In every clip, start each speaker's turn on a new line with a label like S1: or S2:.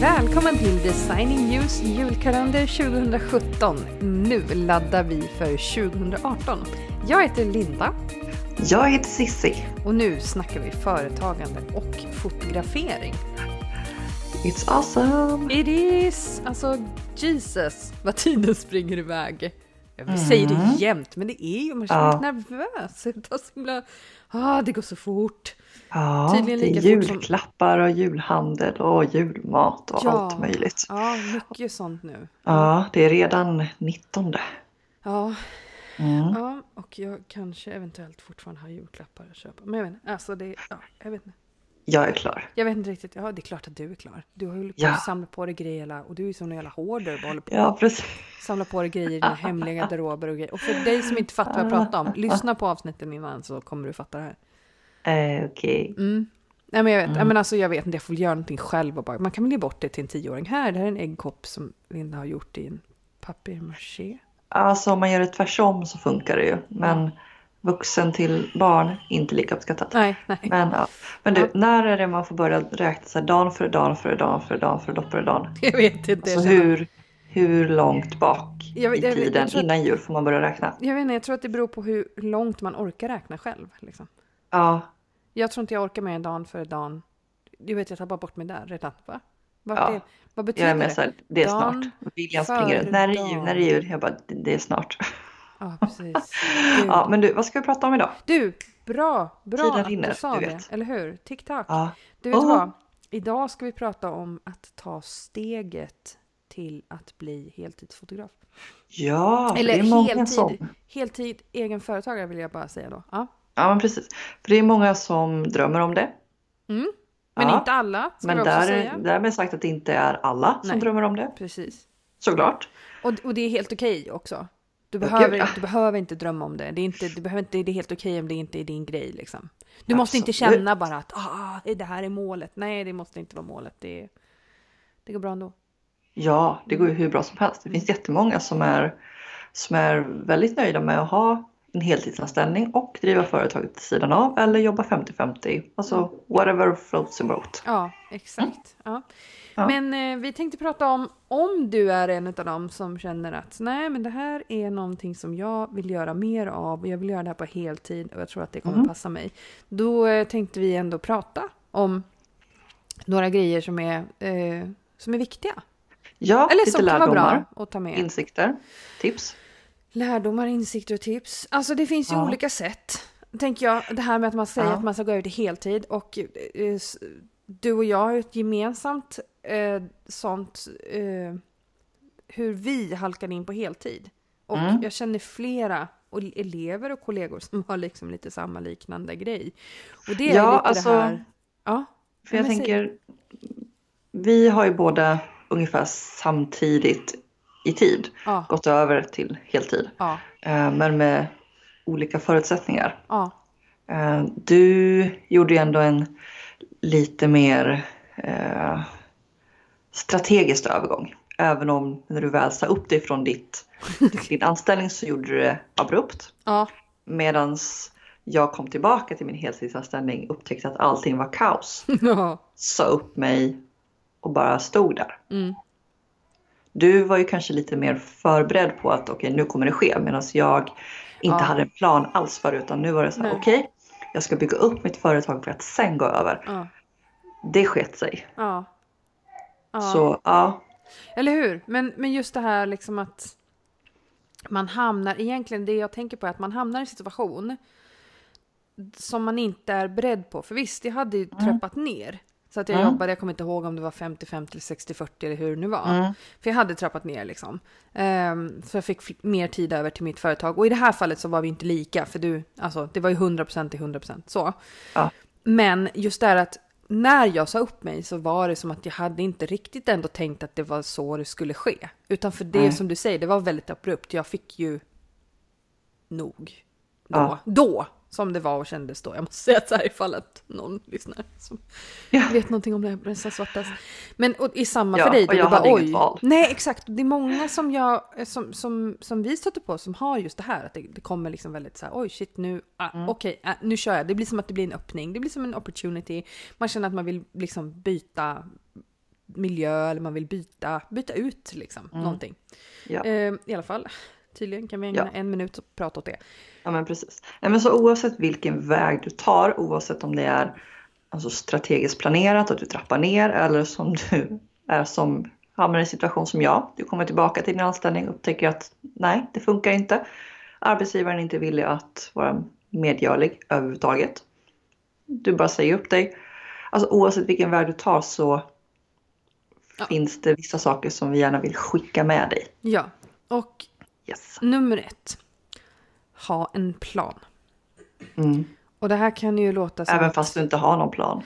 S1: Välkommen till Designing News julkalender 2017. Nu laddar vi för 2018. Jag heter Linda
S2: Jag heter Sissi.
S1: och nu snackar vi företagande och fotografering.
S2: It's awesome!
S1: It is, alltså Jesus vad tiden springer iväg. Jag säger det jämt, men det är ju, man känner
S2: Mm. Ja.
S1: sig nervös. Det, tar så himla, ah, det går så fort.
S2: Ja,
S1: Tydligen
S2: det är
S1: lika fort som-
S2: julklappar och julhandel och julmat och
S1: Ja.
S2: allt möjligt.
S1: Ja, mycket sånt nu.
S2: Ja, det är redan 19.
S1: Ja,
S2: Mm.
S1: Ja, och jag kanske eventuellt fortfarande har julklappar att köpa. Men jag vet inte, alltså det, ja, jag vet inte.
S2: Jag är klar.
S1: Jag vet inte riktigt, ja det är klart att du är klar. Du har ju
S2: Ja.
S1: ja. samlat på dig grejer hela- och du är ju som en jävla hoarder bara håller på
S2: Ja, precis.
S1: samlar på dig grejer i dina hemliga garderober och grejer. Och för dig som inte fattar vad jag pratar om, lyssna på avsnitten innan så kommer du fatta det här.
S2: Eh, Okej.
S1: Mm. Nej men jag vet, mm. men alltså, jag vet inte, jag får göra någonting själv och bara, man kan väl ge bort det till en tioåring. Här, det här är en äggkopp som Linda har gjort i en papier-maché.
S2: Alltså om man gör det tvärsom så funkar det ju. Men vuxen till barn, inte lika uppskattat.
S1: Nej, nej.
S2: Men, ja. Men du,
S1: Ja.
S2: när är det man får börja räkna så här dan för dan för dan för dan för dopp för dan?
S1: Jag vet inte.
S2: Alltså
S1: jag känner-
S2: hur, hur långt bak
S1: Jag vet-
S2: i
S1: jag vet- jag
S2: tiden
S1: tror att-
S2: innan jul får man börja räkna?
S1: Jag vet inte, jag tror att det beror på hur långt man orkar räkna själv. Liksom.
S2: Ja,
S1: Jag tror inte jag orkar med dagen före dagen. Du vet, jag tappar bort mig där redan. Va? Vart
S2: Ja.
S1: är, vad
S2: Jag
S1: betyder
S2: är med så
S1: det?
S2: här, det är
S1: Dan
S2: snart. William
S1: före
S2: springer runt. När är det
S1: dan.
S2: jul? När är det jul? Jag bara, det- det är snart.
S1: Ja, precis. Gud.
S2: Ja, men du, vad ska vi prata om idag?
S1: Du, bra, bra
S2: Tiden
S1: att
S2: rinner,
S1: du sa
S2: du
S1: det.
S2: vet.
S1: Eller hur? Tick-tack.
S2: Ja,
S1: Du vet
S2: Ja.
S1: vad? Idag ska vi prata om att ta steget till att bli heltidsfotograf.
S2: ja för
S1: Eller
S2: det är många
S1: heltid,
S2: som...
S1: heltid egen företagare vill jag bara säga då. Ja.
S2: Ja, men precis. För det är många som drömmer om det.
S1: Mm. Men
S2: Ja,
S1: inte alla, ska
S2: Men
S1: vi också
S2: där,
S1: säga.
S2: därmed sagt att det inte är alla som
S1: Nej.
S2: drömmer om det,
S1: Precis.
S2: såklart.
S1: Och, och det är helt okej också. Du
S2: Ja,
S1: behöver,
S2: gud, ja.
S1: du behöver inte drömma om det. Det är, inte, du behöver inte, det är helt okej om det inte är din grej. Liksom. Du måste inte
S2: Absolut.
S1: känna bara att ah, det här är målet. Nej, det måste inte vara målet. Det, det går bra ändå.
S2: Ja, det
S1: Mm.
S2: går ju hur bra som helst. Det finns jättemånga som är, som är väldigt nöjda med att ha en heltidsanställning och driva företaget vid sidan av eller jobba 50-50.
S1: Mm.
S2: Alltså whatever floats your boat.
S1: Ja, exakt. Ja.
S2: Mm. Ja.
S1: Men eh, vi tänkte prata om om du är en av dem som känner att nej, men det här är någonting som jag vill göra mer av och jag vill göra det här på heltid och jag tror att det kommer
S2: Mm.
S1: passa mig. Då eh, tänkte vi ändå prata om några grejer som är, eh, som är viktiga.
S2: Ja,
S1: Eller
S2: lite
S1: som kan vara
S2: lärdomar,
S1: bra att ta med.
S2: insikter, tips.
S1: Lärdomar, insikter och tips. Alltså det finns ju
S2: Ja.
S1: olika sätt. Tänker jag, det här med att man säger
S2: Ja.
S1: att man ska gå över till heltid och eh, s- du och jag har ju ett gemensamt eh, sånt eh, hur vi halkade in på heltid. Och
S2: Mm.
S1: jag känner flera och elever och kollegor som har liksom lite samma liknande grej. Och det är
S2: Ja,
S1: lite
S2: alltså-
S1: det här... Ja,
S2: För jag
S1: Men säg.
S2: tänker, vi har ju båda ungefär samtidigt i tid
S1: ja,
S2: gått över till heltid,
S1: ja,
S2: eh, men med olika förutsättningar.
S1: ja.
S2: Eh, Du gjorde ju ändå en lite mer eh, strategisk övergång. Även om när du väl sa upp dig från ditt, din anställning så gjorde du det abrupt.
S1: ja.
S2: Medan jag kom tillbaka till min heltidsanställning upptäckte att allting var kaos.
S1: ja.
S2: sa upp mig och bara stod där.
S1: Mm.
S2: Du var ju kanske lite mer förberedd på att okej, nu kommer det ske. Medan jag
S1: Ja.
S2: inte hade en plan alls för utan nu var det så här,
S1: Nej.
S2: okej, jag ska bygga upp mitt företag för att sen gå över.
S1: ja,
S2: Det sket sig.
S1: ja. ja.
S2: Så ja,
S1: Eller hur? Men, men just det här liksom att man hamnar, egentligen det jag tänker på är att man hamnar i en situation som man inte är beredd på. För visst, jag hade ju trappat ner. Så att jag
S2: Mm.
S1: jobbade, jag kommer inte ihåg om det var 50-50 eller 60-40 eller hur det nu var.
S2: Mm.
S1: För jag hade trappat ner liksom. Ehm, så jag fick fl- mer tid över till mitt företag. Och i det här fallet så var vi inte lika, för du, alltså det var ju 100% till 100% så.
S2: Ja.
S1: Men just det här att när jag sa upp mig så var det som att jag hade inte riktigt ändå tänkt att det var så det skulle ske. Utan för det
S2: Nej.
S1: som du säger, det var väldigt abrupt. Jag fick ju nog. Då,
S2: Ja.
S1: då som det var och kändes då. Jag måste säga så här ifall att någon lyssnar som
S2: Ja.
S1: vet någonting om det här nästan svartas. Men och, i samma
S2: Ja,
S1: för dig. då
S2: och jag
S1: du bara,
S2: hade
S1: "Oj."
S2: inget val.
S1: Nej, exakt. Det är många som, jag, som, som, som vi stöter på som har just det här. Att det, det kommer liksom väldigt så här, oj shit nu, ah,
S2: Mm.
S1: okej, ah, nu kör jag. Det blir som att det blir en öppning. Det blir som en opportunity. Man känner att man vill liksom byta miljö eller man vill byta, byta ut liksom,
S2: Mm.
S1: någonting.
S2: Ja.
S1: Eh, I alla fall, tydligen kan vi ägna en minut åt att prata åt det.
S2: Ja men precis. Nej, men så oavsett vilken väg du tar, oavsett om det är alltså, strategiskt planerat, att du trappar ner eller som du är som hamnar i en situation som jag. Du kommer tillbaka till din anställning och upptäcker att nej, det funkar inte. Arbetsgivaren är inte villig att vara medgörlig överhuvudtaget. Du bara säger upp dig. Alltså oavsett vilken väg du tar så
S1: Ja.
S2: finns det vissa saker som vi gärna vill skicka med dig.
S1: Ja, och
S2: Yes.
S1: nummer ett. Ha en plan.
S2: Mm.
S1: Och det här kan ju låta som...
S2: Även fast du inte har någon plan.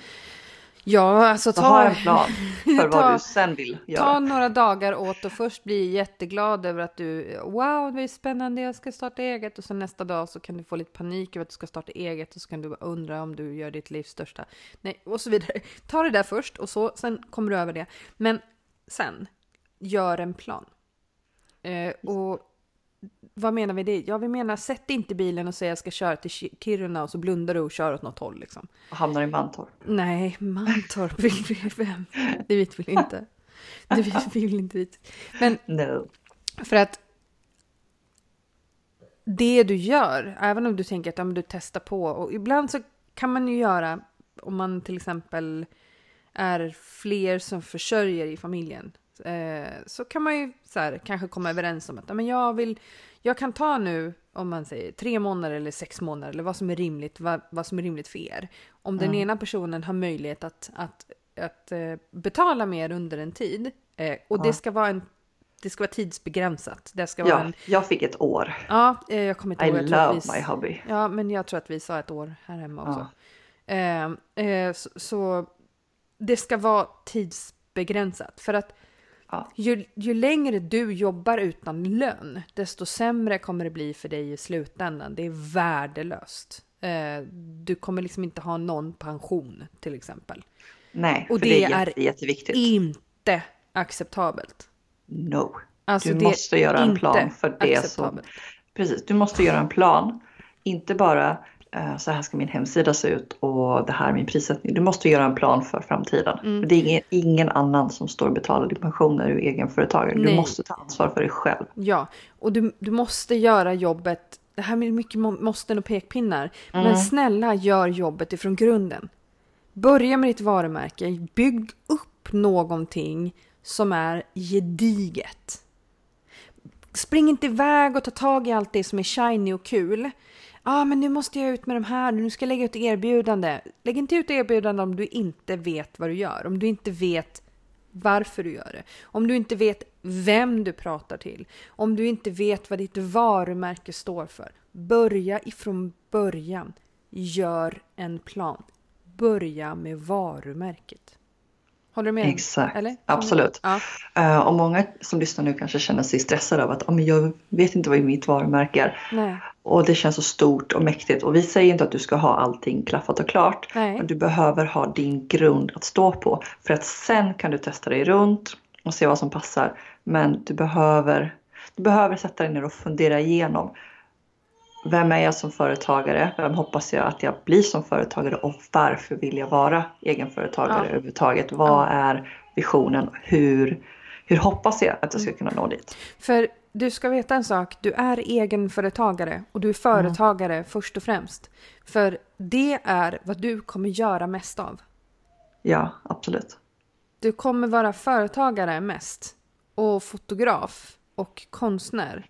S1: Ja, alltså
S2: Så
S1: ta...
S2: ha en plan för vad
S1: Ta-
S2: du sen vill
S1: Ta
S2: göra.
S1: några dagar åt och först bli jätteglad över att du wow, det är spännande, jag ska starta eget och sen nästa dag så kan du få lite panik över att du ska starta eget och så kan du bara undra om du gör ditt livs största. Nej, och så vidare. Ta det där först och så sen kommer du över det. Men sen gör en plan. Eh, och vad menar vi det? Ja, vi menar sätt inte bilen och säg jag ska köra till Ki- Kiruna och så blundar du och kör åt något håll liksom.
S2: Och hamnar i Mantorp.
S1: Nej, Mantorp vill vi vem? Det vet vi inte. Det vill vi vill inte dit. Men
S2: No.
S1: för att det du gör, även om du tänker att ja, men du testar på och ibland så kan man ju göra om man till exempel är fler som försörjer i familjen eh, så kan man ju så här, kanske komma överens om att ja, men jag, vill, jag kan ta nu om man säger tre månader eller sex månader eller vad som är rimligt, vad, vad som är rimligt för er. Om den
S2: Mm.
S1: ena personen har möjlighet att, att, att eh, betala mer under en tid eh, och det,
S2: Ja.
S1: ska vara en, det ska vara tidsbegränsat. Det ska vara
S2: Ja,
S1: en,
S2: jag fick ett år.
S1: ja, eh, jag kommer inte
S2: I
S1: ihåg. jag tror att
S2: love
S1: vi-
S2: my hobby.
S1: Ja, men jag tror att vi sa ett år här hemma också.
S2: Ja.
S1: Eh, eh, så, så det ska vara tidsbegränsat. För att
S2: Ja.
S1: ju, ju längre du jobbar utan lön, desto sämre kommer det bli för dig i slutändan. Det är värdelöst. Eh, du kommer liksom inte ha någon pension till exempel.
S2: Nej,
S1: Och
S2: för det,
S1: det
S2: är,
S1: är
S2: jätte, jätteviktigt.
S1: Inte acceptabelt.
S2: No.
S1: Alltså,
S2: du
S1: det är
S2: måste göra en
S1: inte
S2: plan för det som...
S1: acceptabelt.
S2: Precis, du måste göra en plan. Inte bara eh, så här ska min hemsida se ut och det här är min prissättning. Du måste göra en plan för framtiden.
S1: Mm.
S2: För det är ingen, ingen annan som står och betalar din pension när du är egenföretagare. Du
S1: Nej.
S2: måste ta ansvar för dig själv.
S1: Ja, och du, du måste göra jobbet. Det här med mycket må- måsten och pekpinnar. Men snälla, gör jobbet ifrån grunden. Börja med ditt varumärke. Bygg upp någonting som är gediget. Spring inte iväg och ta tag i allt det som är shiny och kul. Ja, ah, men nu måste jag ut med de här. Nu ska jag lägga ut erbjudande. Lägg inte ut erbjudande om du inte vet vad du gör. Om du inte vet varför du gör det. Om du inte vet vem du pratar till. Om du inte vet vad ditt varumärke står för. Börja ifrån början. Gör en plan. Börja med varumärket. Håller du med?
S2: Exakt,
S1: Eller?
S2: absolut.
S1: Ja.
S2: Eh, och många som lyssnar nu kanske känner sig stressade av att "Ja, men jag vet inte vad mitt varumärke är.
S1: Nej.
S2: Och det känns så stort och mäktigt. Och vi säger inte att du ska ha allting klaffat och klart.
S1: Nej.
S2: Men du behöver ha din grund att stå på. För att sen kan du testa dig runt och se vad som passar. Men du behöver, du behöver sätta dig ner och fundera igenom. Vem är jag som företagare? Vem hoppas jag att jag blir som företagare? Och varför vill jag vara egenföretagare
S1: Ja.
S2: överhuvudtaget? Vad är visionen? Hur, hur hoppas jag att jag
S1: Mm.
S2: ska kunna nå dit?
S1: För du ska veta en sak, du är egenföretagare och du är företagare först och främst. För det är vad du kommer göra mest av.
S2: Ja, absolut.
S1: Du kommer vara företagare mest och fotograf och konstnär.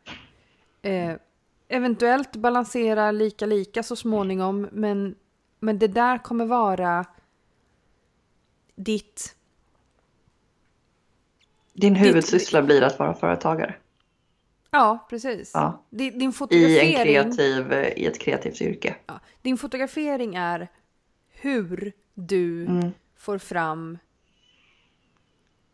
S1: Eh, eventuellt balansera lika lika så småningom men, men det där kommer vara ditt
S2: Din huvudsyssla blir att vara företagare.
S1: Ja, precis.
S2: Ja.
S1: Din, din
S2: i, en
S1: fotografering.
S2: kreativ, i ett kreativt yrke.
S1: Ja. Din fotografering är hur du
S2: Mm.
S1: får fram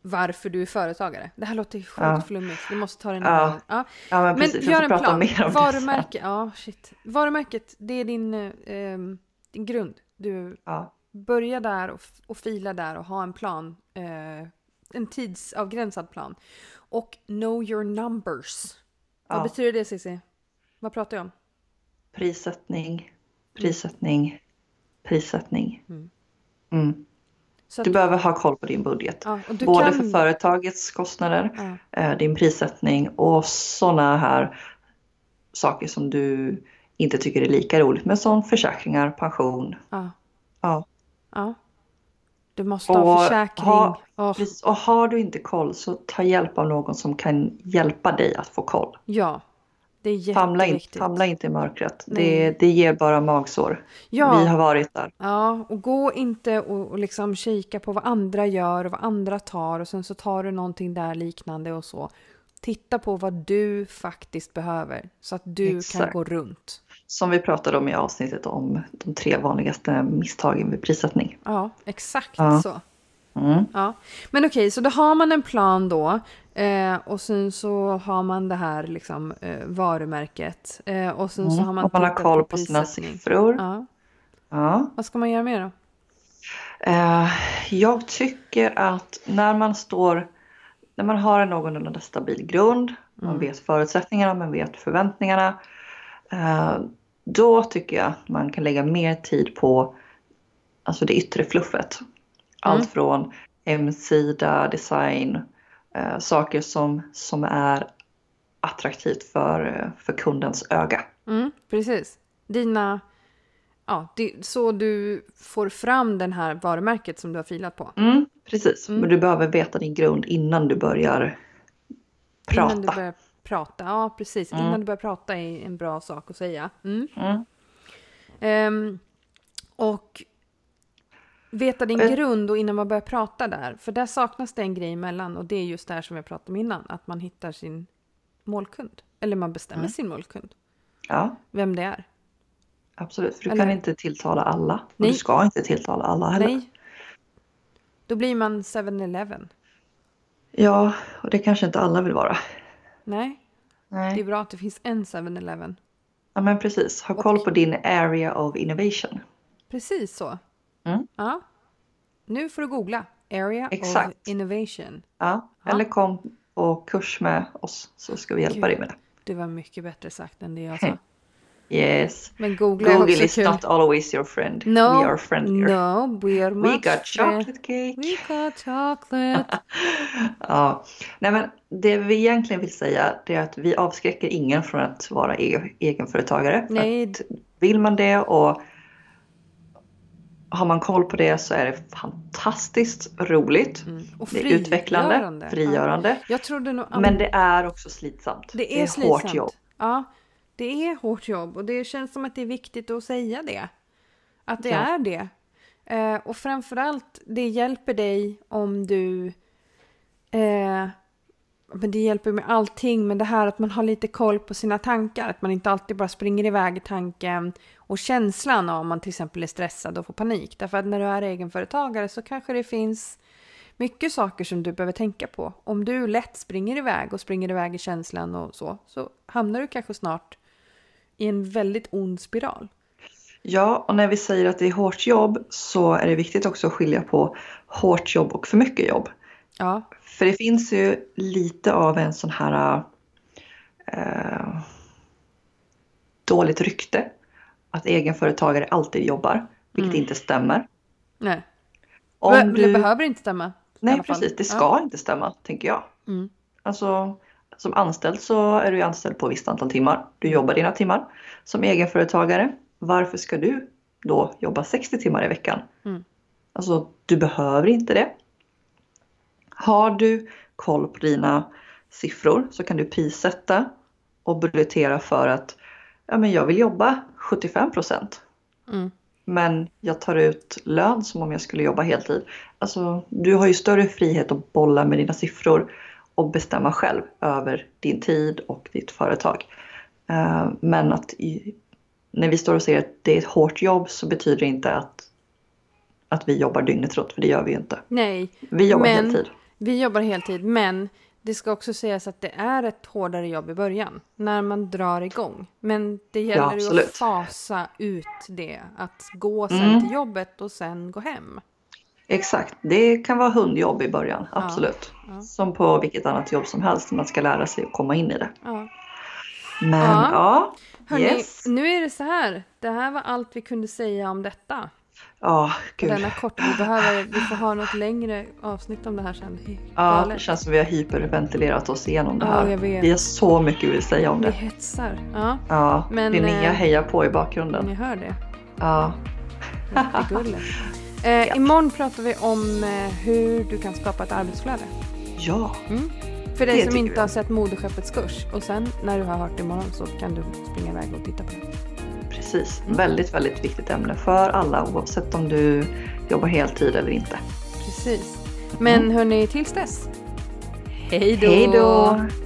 S1: varför du är företagare. Det här låter ju sjukt
S2: Ja.
S1: flummigt. Vi måste ta det en
S2: Ja.
S1: annan gång. ja.
S2: Ja men,
S1: Men
S2: precis, jag
S1: gör
S2: ska
S1: en
S2: prata
S1: plan.
S2: mer om det. sen.
S1: Varumärke, ja, shit. Varumärket, det är din, eh, ehm, din grund. Du
S2: Ja,
S1: börja där och, f- och fila där och ha en plan. Eh, en tidsavgränsad plan. Och know your numbers. Vad
S2: Ja.
S1: betyder det Cissi? Vad pratar jag om?
S2: prissättning, prissättning, prissättning. Mm.
S1: Mm. Så
S2: Du
S1: att,
S2: behöver ha koll på din budget.
S1: ja, och du
S2: Både
S1: kan,
S2: för företagets kostnader,
S1: Ja,
S2: eh, din prissättning och sådana här saker som du inte tycker är lika roligt men som försäkringar, pension.
S1: ja,
S2: Ja.
S1: ja. Du måste
S2: Och
S1: ha försäkring.
S2: ha-
S1: och,
S2: Precis. Och har du inte koll så ta hjälp av någon som kan hjälpa dig att få koll.
S1: ja, det är
S2: Famla, in,
S1: jätteviktigt.
S2: famla inte i mörkret. Det,
S1: Nej.
S2: det ger bara magsår.
S1: ja.
S2: Vi har varit där.
S1: Ja, och gå inte och, och liksom kika på vad andra gör och vad andra tar och sen så tar du någonting där liknande och så. Titta på vad du faktiskt behöver så att du kan
S2: Exakt.
S1: gå runt.
S2: Som vi pratade om i avsnittet om de tre vanligaste misstagen vid prissättning.
S1: Ja, exakt
S2: Ja.
S1: så.
S2: Mm.
S1: Ja. Men okej, så då har man en plan då eh, och sen så har man det här liksom, eh, varumärket eh, och sen så har man,
S2: Om Mm, man har
S1: tittat
S2: koll på sina
S1: prissättning.
S2: siffror.
S1: Ja.
S2: Ja.
S1: Vad ska man göra mer då?
S2: Eh, jag tycker att när man står, när man har en någorlunda stabil grund,
S1: Mm.
S2: man vet förutsättningarna, man vet förväntningarna. eh, då tycker jag att man kan lägga mer tid på alltså det yttre fluffet. Allt
S1: Mm.
S2: från hemsida, design, eh, saker som, som är attraktivt för, eh, för kundens öga.
S1: Mm, precis. Dina... Ja, det, så du får fram den här varumärket som du har filat på.
S2: Mm, precis,
S1: Mm.
S2: men du behöver veta din grund innan du börjar prata.
S1: Innan du börjar prata. Ja, precis. Innan du börjar prata är en bra sak att säga. Mm.
S2: Mm.
S1: Ehm, och veta din
S2: Eh.
S1: grund och innan man börjar prata där. För där saknas det en grej emellan och det är just det här som jag pratade om innan. Att man hittar sin målkund. Eller man bestämmer
S2: Mm.
S1: sin målkund.
S2: Ja.
S1: Vem det är.
S2: Absolut, för du
S1: Eller-
S2: kan inte tilltala alla. Och
S1: Nej.
S2: Du ska inte tilltala alla heller.
S1: Nej. Då blir man 7-Eleven.
S2: Ja, och det kanske inte alla vill vara.
S1: Nej. Det är
S2: Nej.
S1: bra att det finns en 7-Eleven.
S2: Ja, men precis. Ha koll på din area of innovation.
S1: Precis så.
S2: Mm.
S1: Ja. Nu får du googla. Area
S2: Exakt.
S1: of Innovation.
S2: Ja. Eller kom på kurs med oss så ska vi hjälpa dig med det.
S1: Det var mycket bättre sagt än det jag
S2: Hm.
S1: sa.
S2: Yes.
S1: Men googla är
S2: Google
S1: också
S2: is
S1: kul.
S2: not always your friend.
S1: No,
S2: We are friendlier.
S1: no, eh, we are
S2: We
S1: much
S2: got
S1: friend-
S2: chocolate cake.
S1: We got chocolate.
S2: Ja. Nej, men det vi egentligen vill säga det är att vi avskräcker ingen från att vara e- egenföretagare.
S1: Nej.
S2: Att vill man det och har man koll på det så är det fantastiskt roligt.
S1: Och
S2: Det är utvecklande, frigörande.
S1: Mm. Ja. Jag trodde nog...
S2: Men det är också slitsamt.
S1: det är,
S2: hårt jobb.
S1: Ja, det är hårt jobb och det känns som att det är viktigt att säga det. Att det
S2: Ja.
S1: är det. Eh, och framförallt, det hjälper dig om du... Eh, men det hjälper med allting, men det här att man har lite koll på sina tankar. Att man inte alltid bara springer iväg i tanken och känslan om man till exempel är stressad och får panik. Därför att när du är egenföretagare så kanske det finns mycket saker som du behöver tänka på. Om du lätt springer iväg och springer iväg i känslan och så, så hamnar du kanske snart i en väldigt ond spiral.
S2: Ja, och när vi säger att det är hårt jobb så är det viktigt också att skilja på hårt jobb och för mycket jobb.
S1: Ja,
S2: För det finns ju lite av en sån här eh, dåligt rykte. Att egenföretagare alltid jobbar, vilket inte stämmer.
S1: nej.
S2: Om
S1: Mm. Det
S2: du,
S1: behöver inte stämma. i
S2: nej
S1: alla fall.
S2: precis, det ska
S1: Ja.
S2: inte stämma tänker jag.
S1: Mm.
S2: Alltså, som anställd så är du ju anställd på ett visst antal timmar. Du jobbar dina timmar. Som egenföretagare, varför ska du då jobba 60 timmar i veckan?
S1: Mm.
S2: Alltså, du behöver inte det. Har du koll på dina siffror så kan du prissätta och budgetera för att ja, men jag vill jobba 75 procent.
S1: Mm.
S2: Men jag tar ut lön som om jag skulle jobba heltid. Alltså, du har ju större frihet att bolla med dina siffror och bestämma själv över din tid och ditt företag. Eh, Men att i, när vi står och säger att det är ett hårt jobb så betyder det inte att, att vi jobbar dygnet runt, för det gör vi ju inte.
S1: Nej,
S2: Vi jobbar
S1: Men-
S2: heltid.
S1: vi jobbar heltid, men det ska också sägas att det är ett hårdare jobb i början, när man drar igång. Men det gäller ju att
S2: absolut.
S1: fasa ut det, att gå sen
S2: Mm.
S1: till jobbet och sen gå hem.
S2: Exakt, det kan vara hundjobb i början, absolut.
S1: ja.
S2: Som på vilket annat jobb som helst, man ska lära sig att komma in i det.
S1: Ja.
S2: Men
S1: Ja.
S2: ja,
S1: Hörrni,
S2: yes.
S1: nu är det så här. Det här var allt vi kunde säga om detta.
S2: Ja,
S1: Och
S2: gud.
S1: Denna kort, vi behöver, vi får ha något längre avsnitt om det här sen. Det är
S2: Ja, det
S1: galet.
S2: känns som vi har hyperventilerat oss igenom det
S1: Ja,
S2: här.
S1: jag vet.
S2: Vi har så mycket vi vill säga om
S1: Vi
S2: det.
S1: hetsar. Ja,
S2: Ja,
S1: Men,
S2: Linnea
S1: eh, Mm.
S2: hejar på i bakgrunden.
S1: ni hör det.
S2: Ja.
S1: Jättegulligt. Eh, imorgon pratar vi om eh, hur du kan skapa ett arbetsflöde.
S2: ja,
S1: Mm. För dig
S2: Det
S1: som
S2: tycker
S1: inte
S2: jag.
S1: har sett Moderskeppets kurs. Och sen när du har hört det imorgon så kan du springa iväg och titta på det.
S2: precis.
S1: Mm.
S2: Väldigt, väldigt viktigt ämne för alla oavsett om du jobbar heltid eller inte.
S1: Precis. Men hörni, tills dess. Hej då!
S2: Hej då!